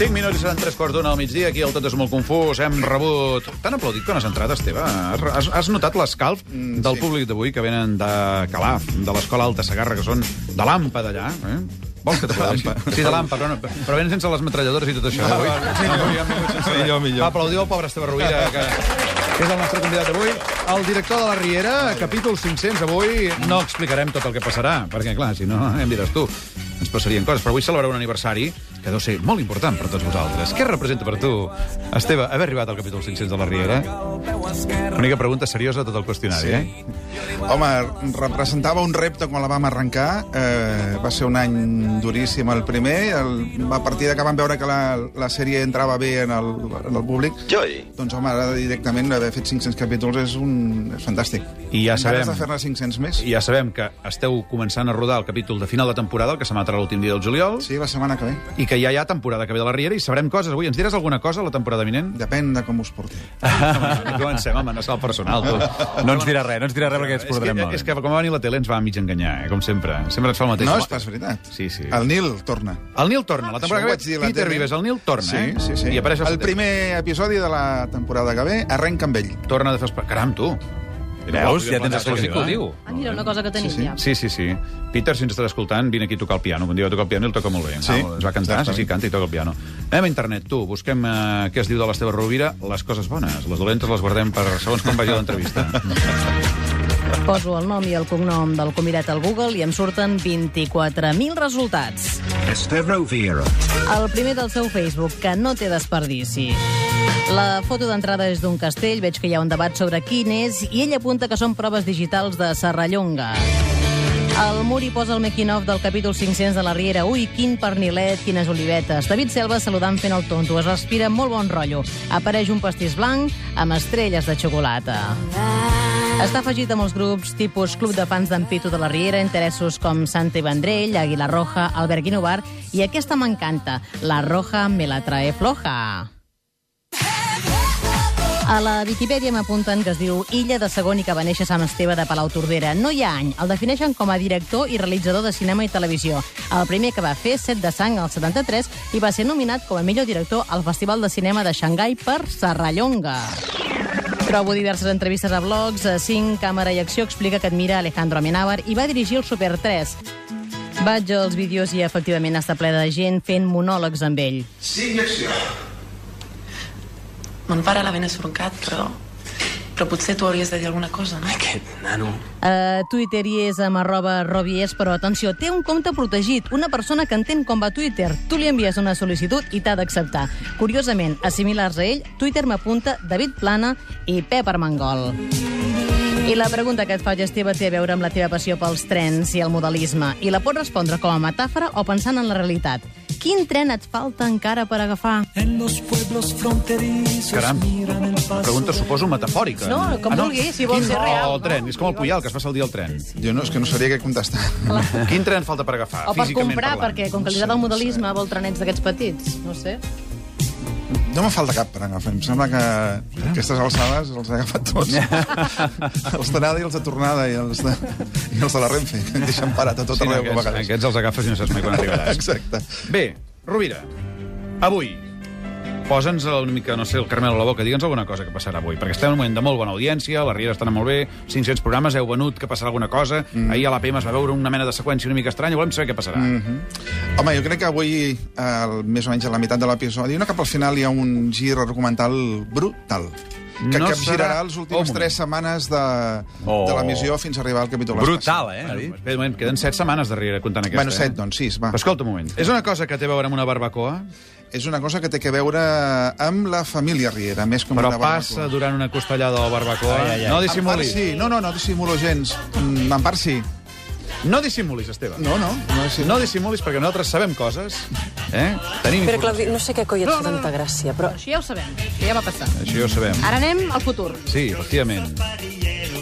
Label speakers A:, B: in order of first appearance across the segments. A: 5 minuts i seran 3 quarts d'una al migdia. Aquí el tot és molt confús. Hem rebut... T'han aplaudit quan has entrat, Esteve. Has, has notat l'escalf
B: Mm,
A: del
B: sí.
A: públic d'avui que venen de Calaf, de l'Escola Alta Segarra, que són de l'AMPA d'allà, eh? Vols que t'aplaudeixi?
B: l'AMPA.
A: Sí, de l'AMPA, però, no, però venen sense les metralladores i tot això. eh, avui? avui han vingut sense-
B: Millor, millor.
A: Va, aplaudiu el pobre Esteve Rovira, que que és el nostre convidat avui. El director de la Riera, capítol 500. Avui no explicarem tot el que passarà, perquè, clar, si no, em diràs tu, ens passarien coses. Però avui celebrarà un aniversari que deu ser molt important per tots vosaltres. Què representa per tu, Esteve, haver arribat al capítol 500 de la Riera? Única pregunta seriosa de tot el qüestionari, sí. eh?
B: Home, representava un repte quan la vam arrencar. Eh, va ser un any duríssim el primer. El, a partir de que vam veure que la, la sèrie entrava bé en el, en el públic,
C: Joi.
B: doncs, home, ara directament haver fet 500 capítols és, un, és fantàstic.
A: I ja
B: Amb ganes
A: sabem.
B: de fer-ne 500 més.
A: I ja sabem que esteu començant a rodar el capítol de final de temporada, el que s'emetrà l'últim dia del juliol,
B: Sí, la setmana que ve.
A: i que ja hi ha temporada que ve de la Riera i sabrem coses avui. Ens diràs alguna cosa a la temporada vinent?
B: Depèn de com us porti.
A: No Comencem a amenaçar el personal, tu.
D: No ens dirà res, no ens dirà res perquè ens
A: és, que, eh,
D: portarem mal.
A: és que com va venir la tele ens va mig enganyar, eh? com sempre. Sempre ens fa el mateix.
B: No, és pas veritat.
A: Sí, sí.
B: El Nil torna.
A: El Nil torna, la temporada
B: Això
A: que
B: ho vaig dir
A: ve.
B: a la
A: Peter
B: tele.
A: Vives, el Nil torna,
B: sí,
A: eh?
B: Sí, sí.
A: I apareix
B: el primer episodi de la temporada que ve arrenca amb ell.
A: Torna de fer... espai. Caram, tu!
D: Veus? Ja tens
A: exclusiva,
D: exclusiva.
A: eh?
E: Ah, mira, una cosa que tenim
B: Sí, sí.
E: ja.
A: Sí, sí, sí. Peter, si ens estàs escoltant, vine aquí a tocar el piano. Un dia va tocar el piano i el toca molt bé.
B: Sí,
A: Au, es va cantar, sí, sí, canta i toca el piano. Anem a internet, tu. Busquem eh, què es diu de l'Esteve Rovira. Les coses bones. Les dolentes les guardem per segons com vagi l'entrevista.
E: Poso el nom i el cognom del convidat al Google i em surten 24.000 resultats.
F: Estero Vieira.
E: El primer del seu Facebook, que no té desperdici. La foto d'entrada és d'un castell, veig que hi ha un debat sobre quin és, i ell apunta que són proves digitals de Serrallonga. El Muri posa el making of del capítol 500 de la Riera. Ui, quin pernilet, quines olivetes. David Selva saludant fent el tonto. Es respira molt bon rotllo. Apareix un pastís blanc amb estrelles de xocolata. Està afegit a molts grups tipus Club de Fans d'en Pitu de la Riera, interessos com Santa i Vendrell, Aguilar Roja, Albert Guinovar, i aquesta m'encanta, La Roja me la trae floja. A la Viquipèdia m'apunten que es diu Illa de Segon i que va néixer a Sant Esteve de Palau Tordera. No hi ha any. El defineixen com a director i realitzador de cinema i televisió. El primer que va fer, Set de Sang, al 73, i va ser nominat com a millor director al Festival de Cinema de Xangai per Serrallonga. Trobo diverses entrevistes a blogs. A 5, Càmera i Acció explica que admira Alejandro Amenábar i va dirigir el Super 3. Vaig als vídeos i efectivament està ple de gent fent monòlegs amb ell.
G: Mon pare l'ha ben esforcat, però... Però potser tu hauries de dir alguna cosa, no?
F: Aquest nano.
E: A Eh, Twitter hi és amb arroba robies, però atenció, té un compte protegit. Una persona que entén com va Twitter. Tu li envies una sol·licitud i t'ha d'acceptar. Curiosament, assimilars a ell, Twitter m'apunta David Plana i Pep Armengol. I la pregunta que et faig, Esteve, té a veure amb la teva passió pels trens i el modelisme. I la pots respondre com a metàfora o pensant en la realitat. Quin tren et falta encara per agafar?
A: Eh, Caram, pregunta, suposo, metafòrica. Ah,
E: No, com vulgui, si vol
A: Quin-
E: ser real,
A: Oh, el tren, és com el Puyal, que es fa saldir el tren.
B: Jo no, és que no sabria què contestar.
A: Quin tren falta per agafar,
E: O per
A: físicament
E: comprar,
A: parlant?
E: perquè com que li agrada el modelisme, vol trenets d'aquests petits. No sé.
B: No me falta cap per agafar. Em sembla que aquestes alçades els he agafat tots. els d'anada i els de tornada i els de, i els de la Renfe, que em deixen parat a tot
A: Sí, no,
B: arreu. a
A: aquests,
B: vegades.
A: aquests els agafes i no saps mai quan arribaràs.
B: Exacte.
A: Bé, Rovira, avui posa'ns una mica, no sé, el Carmel a la boca, digue'ns alguna cosa que passarà avui, perquè estem en un moment de molt bona audiència, la Riera està anant molt bé, 500 programes, heu venut que passarà alguna cosa, mm. ahir a l'APM es va veure una mena de seqüència una mica estranya, volem saber què passarà. Mm.
B: Mhm. Home, jo crec que avui, eh, més o menys a la meitat de l'episodi, no cap al final hi ha un gir argumental brutal que
A: No
B: no
A: serà
B: capgirarà les
A: un
B: últimes
A: moment.
B: tres setmanes de, oh.
D: Oh.
B: de l'emissió fins a arribar al capítol especial.
D: Brutal, eh?
A: Ah,
D: ha dit?
A: Espera un moment, queden 7 setmanes de Riera comptant aquesta. eh?
B: Bueno, set, doncs, sis, va.
A: Però escolta un moment, és una cosa que té a veure amb una barbacoa,
B: És una cosa que té que veure amb la família Riera, més com
A: però
B: una
A: passa
B: barbacoa.
A: durant una costellada a la barbacoa. Ai, ai, ai. No
B: En part
A: dissimulis.
B: sí. No, no, no dissimulo gens. Mm, En part sí.
A: No dissimulis, Esteve.
B: No, no. no dissimulo.
A: No dissimulis perquè nosaltres sabem coses, eh? Tenim
H: Però,
A: informació.
H: Claudi, no sé què coi et fa tanta gràcia, però...
E: Això ja ho sabem, que ja va passar.
A: Això ja ho sabem.
E: Ara anem al futur.
A: Sí, efectivament.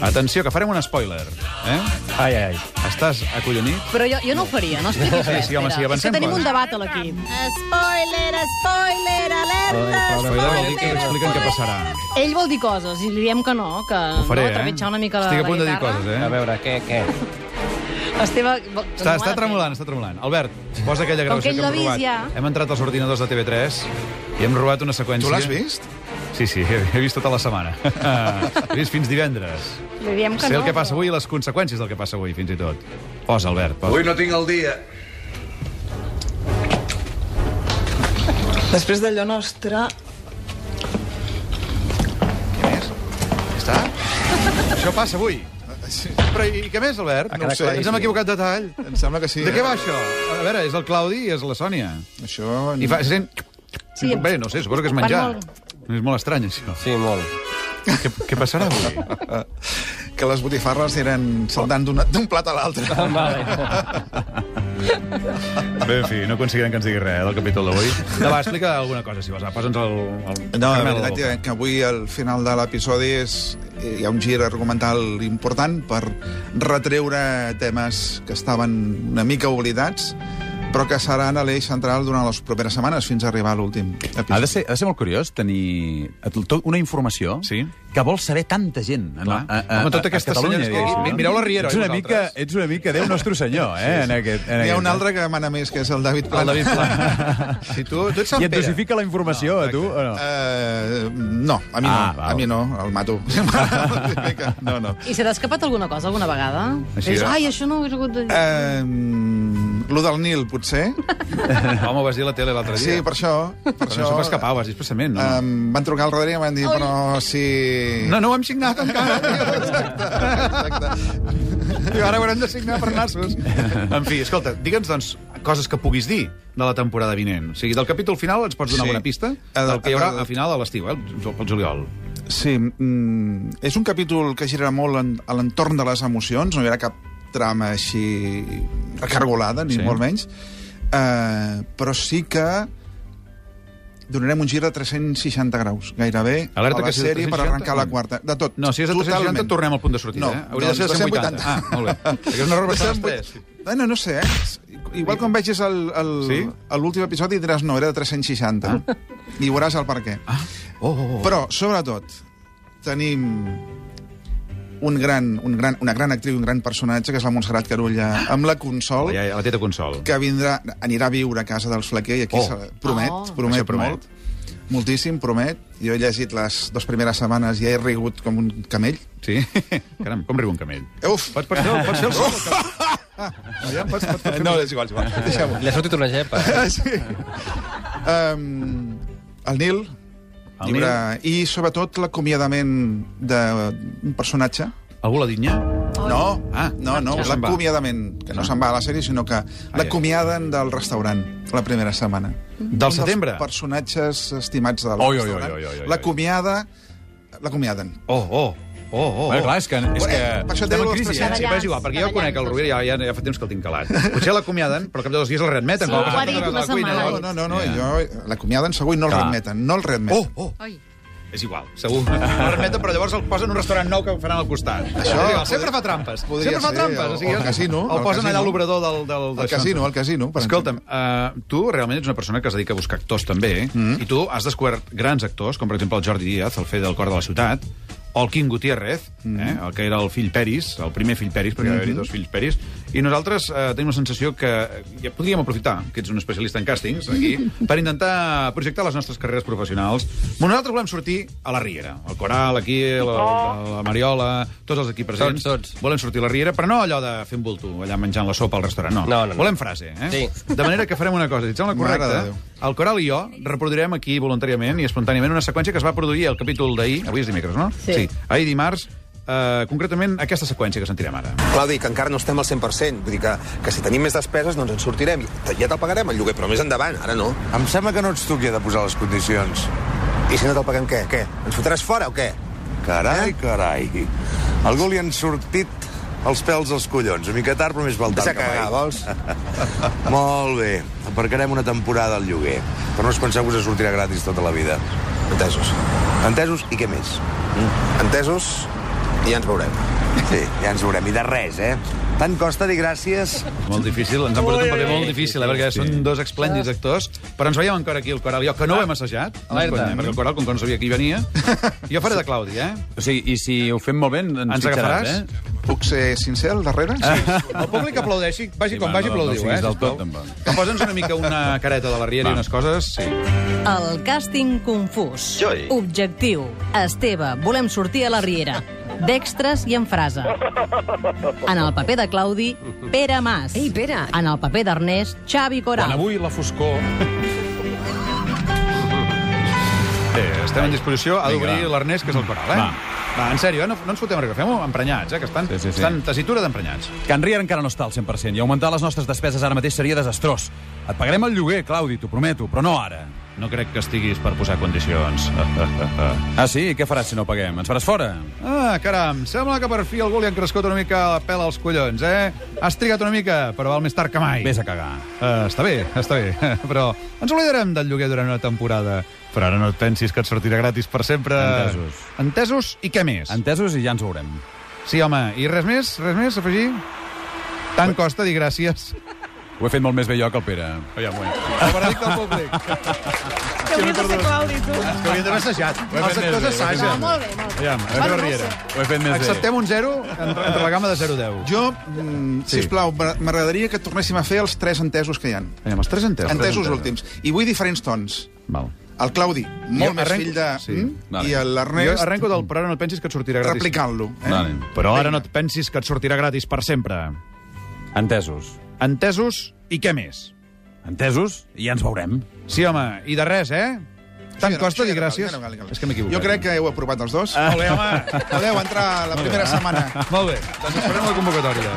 A: Atenció, que farem un spoiler. Eh?
D: Ai, ai, ai.
A: Estàs acollonit?
E: Però jo, jo no ho faria, no expliquis
A: Sí,
E: res.
A: sí, home, sí,
E: Pere. És
A: avancem
E: que tenim
A: coses.
E: un debat a l'equip. Spoiler, spoiler, alerta,
A: Spoiler vol dir que expliquen què passarà.
E: Ell vol dir coses i li diem que no, que
A: Ho faré,
E: no,
A: eh?
E: trepitjar una mica la,
A: Estic a punt
E: la
A: de dir
E: guitarra.
A: coses, eh?
D: A veure, què, què?
E: Esteve... vol- doncs
A: Està,
E: no ho
A: està
E: ha de fer.
A: tremolant, està tremolant. Albert, Posa aquella
C: Com
A: gravació
C: que ell
A: que hem
C: l'ha vist
A: robat.
C: ja.
A: Hem entrat als ordinadors de TV3 i hem robat una seqüència...
B: Tu l'has vist?
A: Sí, sí, he, he vist tota la setmana. he vist fins divendres.
C: Li diem que
A: Sé
C: no.
A: el que passa avui i les conseqüències del que passa avui, fins i tot. Posa, Albert, posa.
F: no tinc el dia.
G: Després d'allò nostre...
B: Què més? Ja està?
A: Això passa avui.
B: Sí,
A: Però i, i què més, Albert?
B: quedat claríssim.
A: ens hem equivocat de tall.
B: em sembla que sí. eh?
A: De què va això? A veure, és el Claudi i és la Sònia.
B: Això...
A: I fa, se sent...
E: Sí, em-
A: Bé, no sé, suposo que és menjar.
E: Fan
A: És molt estrany, això.
D: Sí, molt.
A: Què, què passarà avui?
B: eh, Que les botifarres eren saltant d'una- d'un plat a l'altre.
A: Bé, en fi, no aconseguirem que ens digui res eh, del capítol d'avui. No, va, explica alguna cosa, si vols. Va, Posa'ns el, el...
B: No, la
A: caramel a
B: veritat eh?
A: boca.
B: és que avui al final de l'episodi és eh, hi ha un gir argumental important per retreure temes que estaven una mica oblidats però que seran a l'eix central durant les properes setmanes fins a arribar a l'últim episodi.
D: Ha de, ser, ha de ser molt curiós tenir tot una informació
A: Sí.
D: que vol saber tanta gent en,
A: Clar. Home, tota aquesta
D: Catalunya.
A: senyora-
D: diguéssim,
A: Mi- mireu la Riera,
D: Ets una,
A: vosaltres.
D: mica, ets una mica Déu Nostre Senyor, eh? En aquest, en
B: Hi ha
D: aquest-
B: un altre que mana més, que és el David
A: El
B: Plana.
A: David Pla. si tu, tu ets Sant
D: I et
A: Pere.
D: dosifica la informació, no, a tu, o no?
B: Eh, no, a mi no,
D: Ah, val.
B: a mi no, el mato. no, no.
E: I se t'ha escapat alguna cosa alguna vegada?
A: Així,
E: Dius,
A: eh?
E: Ai, això no ho he hagut de dir.
B: Eh, lo del Nil, potser.
A: Home, ho vas dir a la tele l'altre dia.
B: Sí, per això. Per
A: Però això... no s'ho va escapar, ho vas dir expressament, no? Um...
B: Em van trucar al Rodríguez i em van dir, però si...
A: No, no ho hem signat encara.
B: Exacte.
A: I ara ho haurem de signar per nassos. en fi, escolta, digue'ns, doncs, coses que puguis dir de la temporada vinent. O sigui, del capítol final ens pots donar
B: Sí.
A: sí. una pista
B: Eh,
A: del que hi haurà
B: eh,
A: a final de l'estiu, eh? El, el juliol.
B: Sí, mm, és un capítol que girarà molt en, a l'entorn de les emocions, no hi haurà cap trama així recargolada, ni
A: Sí.
B: sí. molt menys, uh, però sí que donarem un gir de 360 graus, gairebé,
A: Alerta
B: a la
A: que si de
B: sèrie per
A: 360,
B: arrencar la
A: no.
B: quarta. De tot.
A: No, si és de 360,
B: totalment.
A: tornem al punt de sortida.
B: No,
A: eh? Hauria de ser de 180. Ah, molt bé. Perquè és una error bastant estrès.
B: Bueno, no sé, eh? Igual quan vegis el- el-
A: Sí? Ah.
B: el- l'últim episodi diràs no, era de 360. I veuràs el per què.
A: Oh, oh, oh.
B: Però, sobretot, tenim un gran, un gran, una gran actriu i un gran personatge, que és la Montserrat Carulla, amb la Consol,
A: Ja, ja, la teta Consol.
B: que vindrà, anirà a viure a casa dels Flaquer, i aquí
A: Oh.
B: oh. se, promet,
E: Oh.
B: oh. promet,
A: Això promet.
B: promet molt. Moltíssim, promet. Jo he llegit les dues primeres setmanes i he rigut com un camell.
A: Sí? Caram, com riu un camell.
B: Eh, Uf!
A: Pots, pots, fer, pots fer el sol?
B: Aviam, pots, pots, pots no, és igual, és igual. Deixem-ho.
A: Ah,
B: Ah,
I: Li ha sortit una gepa.
B: Sí. Um, el
A: El
B: Nil, el llibre, Nil. i sobretot l'acomiadament d'un personatge,
A: Algú la dinya?
B: No,
A: Ah,
B: ah, no, no,
A: ja se'n va.
B: l'acomiadament, que no se'n va a la sèrie, sinó que l'acomiaden del restaurant la primera setmana.
A: Del setembre?
B: dels personatges estimats del
D: Oi, oi,
B: restaurant.
D: oi, oi, oi, oi.
B: L'acomiada... L'acomiaden.
A: Oh, oh, oh, oh.
D: Bueno, clar, és que, és que
B: Eh, per això
D: estem
B: té
D: en
B: dos
D: crisi.
A: Sí, però és igual, perquè jo
C: Treballant,
A: conec el Rovira, ja, ja, ja fa temps que el tinc calat. Potser l'acomiaden, però al cap de dos dies el readmeten.
C: Sí,
A: com
C: ho ha
A: passa
C: dit
A: a la
C: una
A: cuina,
C: setmana.
B: No, no, no, no
A: Ja.
B: jo... L'acomiaden segur i no el
A: Clar.
B: readmeten. No el
A: Oh,
B: readmeten.
A: oh,
C: Ai.
A: és igual, segur. El readmeten, però llavors el posen en un restaurant nou que ho faran al costat. Això és igual, sempre fa trampes.
B: podria
A: Sempre fa
B: ser,
A: trampes.
B: o el casino,
A: El
B: el
A: posen
B: casino.
A: allà a l'obrador del... del
B: El
A: d'això.
B: casino, el casino. per
A: Escolta'm, uh, tu realment ets una persona que es dedica a buscar actors també, eh? i tu has descobert grans actors, com per exemple el Jordi Díaz, el Fede del Cor de la Ciutat, o el Quim Gutiérrez, eh? el que era el fill Peris, el primer fill Peris, perquè va haver-hi dos fills Peris, i nosaltres eh, tenim la sensació que eh, ja podríem aprofitar, que ets un especialista en càstings, aquí, per intentar projectar les nostres carreres professionals. Però nosaltres volem sortir a la Riera, el Coral, aquí, la, la, la Mariola, tots els aquí presents.
I: Tots, tots.
A: Volem sortir a la Riera, però no allò de fer un bulto, allà menjant la sopa al restaurant, no.
I: No, no, no.
A: Volem frase, eh?
I: Sí.
A: De manera que farem una cosa, si et sembla
B: Mare de
A: correcte,
B: Déu.
A: el Coral i jo reproduirem aquí voluntàriament i espontàniament una seqüència que es va produir al capítol d'ahir, avui és dimecres, no?
E: Sí.
A: ahir dimarts, eh, concretament aquesta seqüència que sentirem ara.
J: Claudi, que encara no estem al 100%. Vull dir que, que si tenim més despeses, doncs ens sortirem. Ja te'l pagarem, el lloguer, però més endavant, ara no.
K: Em sembla que no ets tu qui ha de posar les condicions.
J: I si no te'l paguem, què? Què? Ens fotràs fora o què?
K: Carai, carai. Algú li han sortit els pèls als collons. Una mica tard, però més val
J: Vés
K: tard
J: a
K: mai.
J: cagar, vols?
K: Molt bé. Aparcarem una temporada al lloguer. Però no us penseu que us sortirà gratis tota la vida.
J: Entesos.
K: Entesos? I què més? Mm?
J: Entesos? I ja ens veurem.
K: Sí, ja ens veurem. I de res, eh? Tant costa dir gràcies.
A: Molt difícil, ens han portat un paper molt difícil, eh, perquè són dos esplèndids actors, però ens veiem encara aquí el Coral i jo, que no ho hem assajat,
I: Ah. Alerta.
A: Conya, perquè el Coral, com que no sabia qui venia, jo faré de Claudi, eh?
D: O sigui, i si ho fem molt bé, ens,
A: Ens
D: fitxaràs,
A: agafaràs?
D: eh?
B: Puc ser sincer al darrere? Sí.
A: El públic aplaudeixi, vagi
D: Sí,
A: com
D: va,
A: vagi,
D: no- no
A: aplaudiu,
D: siguis
A: eh?
D: del
A: sisplau.
D: tot, tampoc.
A: Que posa'ns una mica una careta de la Riera i
D: Va.
A: unes coses... Sí.
E: El càsting confús.
J: Joi.
E: Objectiu. Esteve, volem sortir a la Riera. D'extres i en frase. En el paper de Claudi, Pere Mas.
H: Ei, Pere.
E: En el paper d'Ernest, Xavi
D: Quan
E: Coral.
D: avui la foscor...
A: Bé, estem en disposició a
D: Vinga,
A: d'obrir
D: va.
A: l'Ernest, que és el coral, eh?
D: Va.
A: va en sèrio, eh? no, no ens fotem res, fem-ho emprenyats, eh? que estan,
D: Sí, sí, sí.
A: estan tessitura d'emprenyats.
D: Can Rier encara no està al 100% i augmentar les nostres despeses ara mateix seria desastrós. Et pagarem el lloguer, Claudi, t'ho prometo, però no ara.
A: No crec que estiguis per posar condicions.
D: Ah, sí? I què faràs si no paguem? Ens faràs fora?
A: Ah, caram, sembla que per fi algú li han crescut una mica la pela als collons, eh? Has trigat una mica, però val més tard que mai.
D: Vés a cagar.
A: Uh, està bé, està bé, però ens oblidarem del lloguer durant una temporada. Però ara no et pensis que et sortirà gratis per sempre.
D: Entesos.
A: Entesos i què més?
D: Entesos i ja ens veurem.
A: Sí, home, i res més? Res més a afegir? Tant costa dir gràcies.
D: Ho he fet molt més bé jo que el Pere.
A: Aviam, bueno. El veredicte del públic.
C: Que hauries de ser Claudi, tu.
A: És que hauria d'haver assajat. Els actors assagen.
C: Molt bé, molt bé.
A: Aviam, Esteve Riera.
D: Ho he fet més
A: Acceptem un 0 entre, entre la gamma de 0-10.
B: Jo, mm, sisplau, m'agra- m'agradaria que tornéssim a fer els tres entesos que hi han.
A: Aviam, els tres entesos.
B: Entesos últims. I vull diferents tons.
A: Val.
B: El Claudi, molt més
A: arrenco-
B: fill de...
A: sí,
B: Mm?
D: vale.
B: I
A: Jo
B: l'Ernest,
A: arrenco del però ara no et pensis que et sortirà gratis.
B: replicant-lo. Eh?
D: Vale.
A: Però ara no et pensis que et sortirà gratis per sempre.
D: bé. Entesos.
A: Entesos i què més?
D: Entesos i ja ens veurem.
A: Sí, home, i de res, eh? Tant
B: Això ja no-
A: costa
B: això ja
A: dir
B: no cal,
A: gràcies.
B: ja no cal, ja no cal.
A: És que m'he equivocat.
B: Jo crec que heu aprovat els dos.
A: Molt bé, home.
B: Podeu entrar la primera setmana.
A: Molt bé, doncs esperem la convocatòria.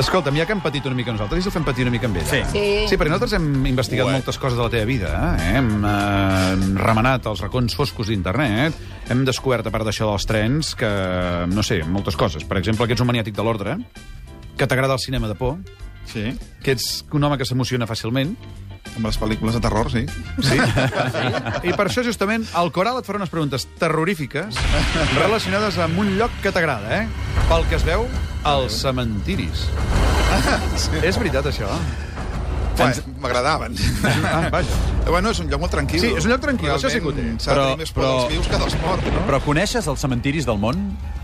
A: Escolta'm, ja que hem patit una mica nosaltres, i si el fem patir una mica amb ella.
D: Sí.
A: Sí, sí perquè nosaltres hem investigat moltes coses de la teva vida. Eh? Hem eh, remenat els racons foscos d'internet, hem descobert, a part d'això dels trens, que, no sé, moltes coses. Per exemple, que ets un maniàtic de l'ordre, que t'agrada el cinema de por,
B: Sí.
A: que ets un home que s'emociona fàcilment,
B: Amb les pel·lícules de terror, sí.
A: Sí. I per això, justament, el Coral et farà unes preguntes terrorífiques relacionades amb un lloc que t'agrada, eh? Pel que es veu, els cementiris. És veritat, això?
B: Bé, M'agradaven.
A: Ah, vaja.
B: Eh, bueno, és un lloc molt tranquil.
A: Sí, és un lloc tranquil, això sí que ho té.
B: Realment, S'ha de
D: Però-
B: tenir més por dels
D: però-
B: vius que dels morts, no?
D: Però coneixes els cementiris del món?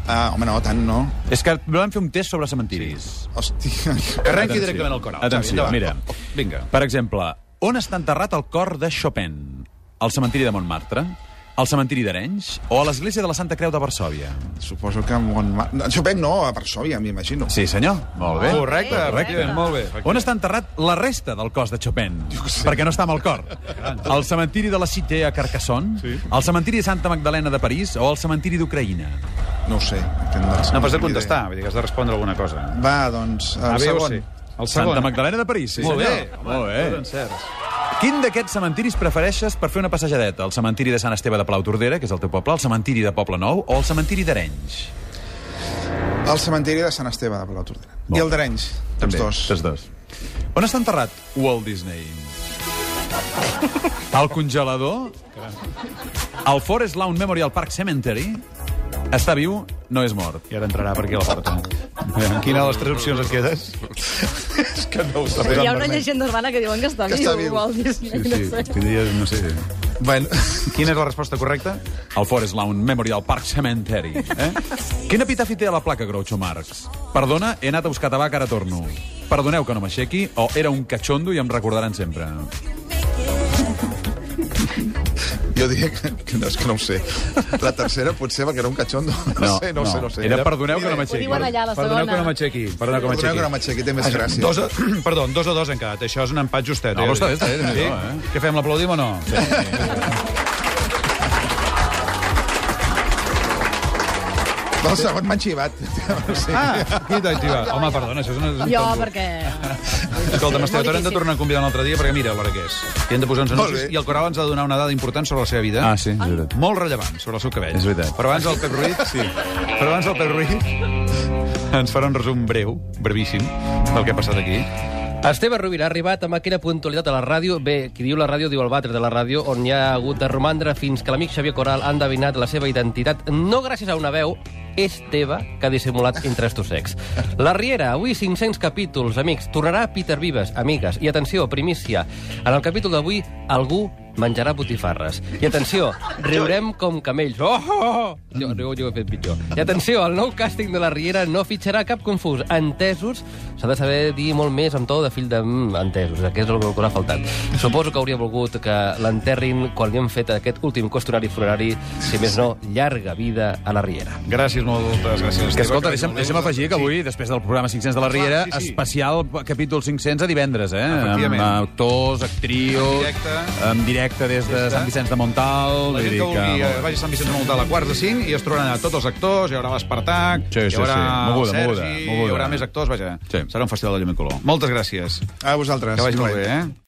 B: Ah, home, no, tant no.
D: És que volem fer un test sobre cementiris.
B: Hòstia.
A: Que arrenqui
D: Atenció.
A: directament el Coral. Xavi,
D: Atenció,
A: endavant. Oh,
D: mira.
A: Vinga.
D: Per exemple, on està enterrat el cor de Chopin? Al cementiri de Montmartre? Al cementiri d'Arenys? O a l'església de la Santa Creu de Varsovia?
B: Suposo que a Montmartre... No, Chopin no, a Varsovia, m'imagino.
D: Sí, senyor. Molt bé.
A: Correcte, efectivament, molt bé.
D: On està enterrat la resta del cos de Chopin? Perquè no està amb el cor. Al cementiri de la Cité a Carcassonne, al cementiri de Santa Magdalena de París o al cementiri d'Ucraïna?
B: No ho sé. aquest No,
A: No, però has de contestar, vull dir que has de respondre alguna cosa.
B: Va, doncs, el
A: A, B o
B: segon.
A: C. El
D: Santa
A: segon.
D: Magdalena de París, sí,
A: Molt bé.
D: senyor.
A: home, doncs
D: Molt
A: tots
D: bé.
A: encerts.
D: Quin d'aquests cementiris prefereixes per fer una passejadeta? El cementiri de Sant Esteve de Palau Tordera, que és el teu poble, el cementiri de Poble Nou o el cementiri d'Arenys?
B: El cementiri de Sant Esteve, de Palau Tordera. I el d'Arenys, tots dos.
D: Tots dos. On està enterrat Walt Disney? Al congelador? Al Forest Lawn Memorial Park Cemetery? Està viu, no és mort.
A: I ara entrarà per aquí a la porta. Aviam, Quina de les tres opcions et quedes? És que no ho sabem.
C: Hi ha una llegenda urbana que diuen que està,
B: Que està viu.
C: Walt Disney, no sé.
A: Tindries, no sé...
B: Bueno,
A: Quina és la resposta correcta?
D: Al Forest Lawn Memorial Park Cemetery. Eh? Quin epitafi té a la placa Groucho Marx? Perdona, he anat a buscar tabac, ara torno. Perdoneu que no m'aixequi, o era un catxondo i em recordaran sempre.
B: jo diria que, que no, és que no ho sé. La tercera potser perquè era un catxondo. No, sé, no, ho sé, no ho sé.
D: Era perdoneu que
B: Mira,
D: no
C: Ho
D: m'aixequi.
C: diuen allà, la
A: Perdoneu que no
C: segona.
A: m'aixequi. Perdoneu que
B: Perdoneu que no
A: m'aixequi.
B: m'aixequi, té més gràcia.
A: Dos a, perdó, dos a dos han quedat. Això és un empat justet.
D: No, però està bé, està bé,
A: Sí?
D: Déu-n'hi-do, eh?
A: Què fem, l'aplaudim o no? Sí.
B: Del segon m'han xivat. Sí.
A: Ah, qui t'ha activat? Home, perdona, això és una...
C: Jo, perquè...
A: Escolta'm, Esteve,
C: Molt
A: t'haurem de
C: difícil.
A: tornar a convidar un altre dia, perquè mira l'hora que és. I hem de posar uns
B: Molt
A: anuncis,
B: bé.
A: i el Coral ens ha de donar una dada important sobre la seva vida.
D: Ah, sí, és veritat.
A: Molt rellevant, sobre el seu cabell.
D: És veritat.
A: Però abans el Pep Ruiz... Sí. Però abans el Pep Ruiz ens farà un resum breu, brevíssim, del que ha passat aquí.
I: Esteve Rovira ha arribat amb aquella puntualitat a la ràdio, bé, qui diu la ràdio diu el vàter de la ràdio, on hi ha hagut de romandre fins que l'amic Xavier Coral ha endevinat la seva identitat, no gràcies a una veu, és teva, que ha dissimulat entre estussecs. La Riera, avui 500 capítols, amics. Tornarà Peter Vives, amigues. I atenció, primícia. En el capítol d'avui, algú menjarà botifarres. I atenció, riurem com camells. Oh, oh, oh! Jo, jo, jo ho he fet pitjor. I atenció, el nou càsting de la Riera no fitxarà cap confús. Entesos, s'ha de saber dir molt més amb to de fill de... Mm, entesos, aquest és el que us ha faltat. Suposo que hauria volgut que l'enterrin quan li han fet aquest últim qüestionari funerari, si més no, llarga vida a la Riera.
A: Gràcies, moltes gràcies.
D: Que, escolta, deixa'm, deixa'm afegir que avui, després del programa 500 de la Riera, sí, sí. especial capítol 500 a divendres, eh? Amb
A: Efectivament.
D: actors, actrius... En directe. En directe des de Sant Vicenç de Montal...
A: La gent que vulgui eh, vagi a Sant Vicenç de Montalt a quarts de cinc i es trobaran a tots els actors, hi haurà l'Espartac,
D: Sí, sí,
A: hi haurà
D: sí.
A: el
D: Moguda,
A: Sergi,
D: moguda, moguda.
A: hi haurà més actors, vaja.
D: Sí.
A: Serà un festival de llum i color. Moltes gràcies.
B: A vosaltres.
A: Que vagi molt bé, eh?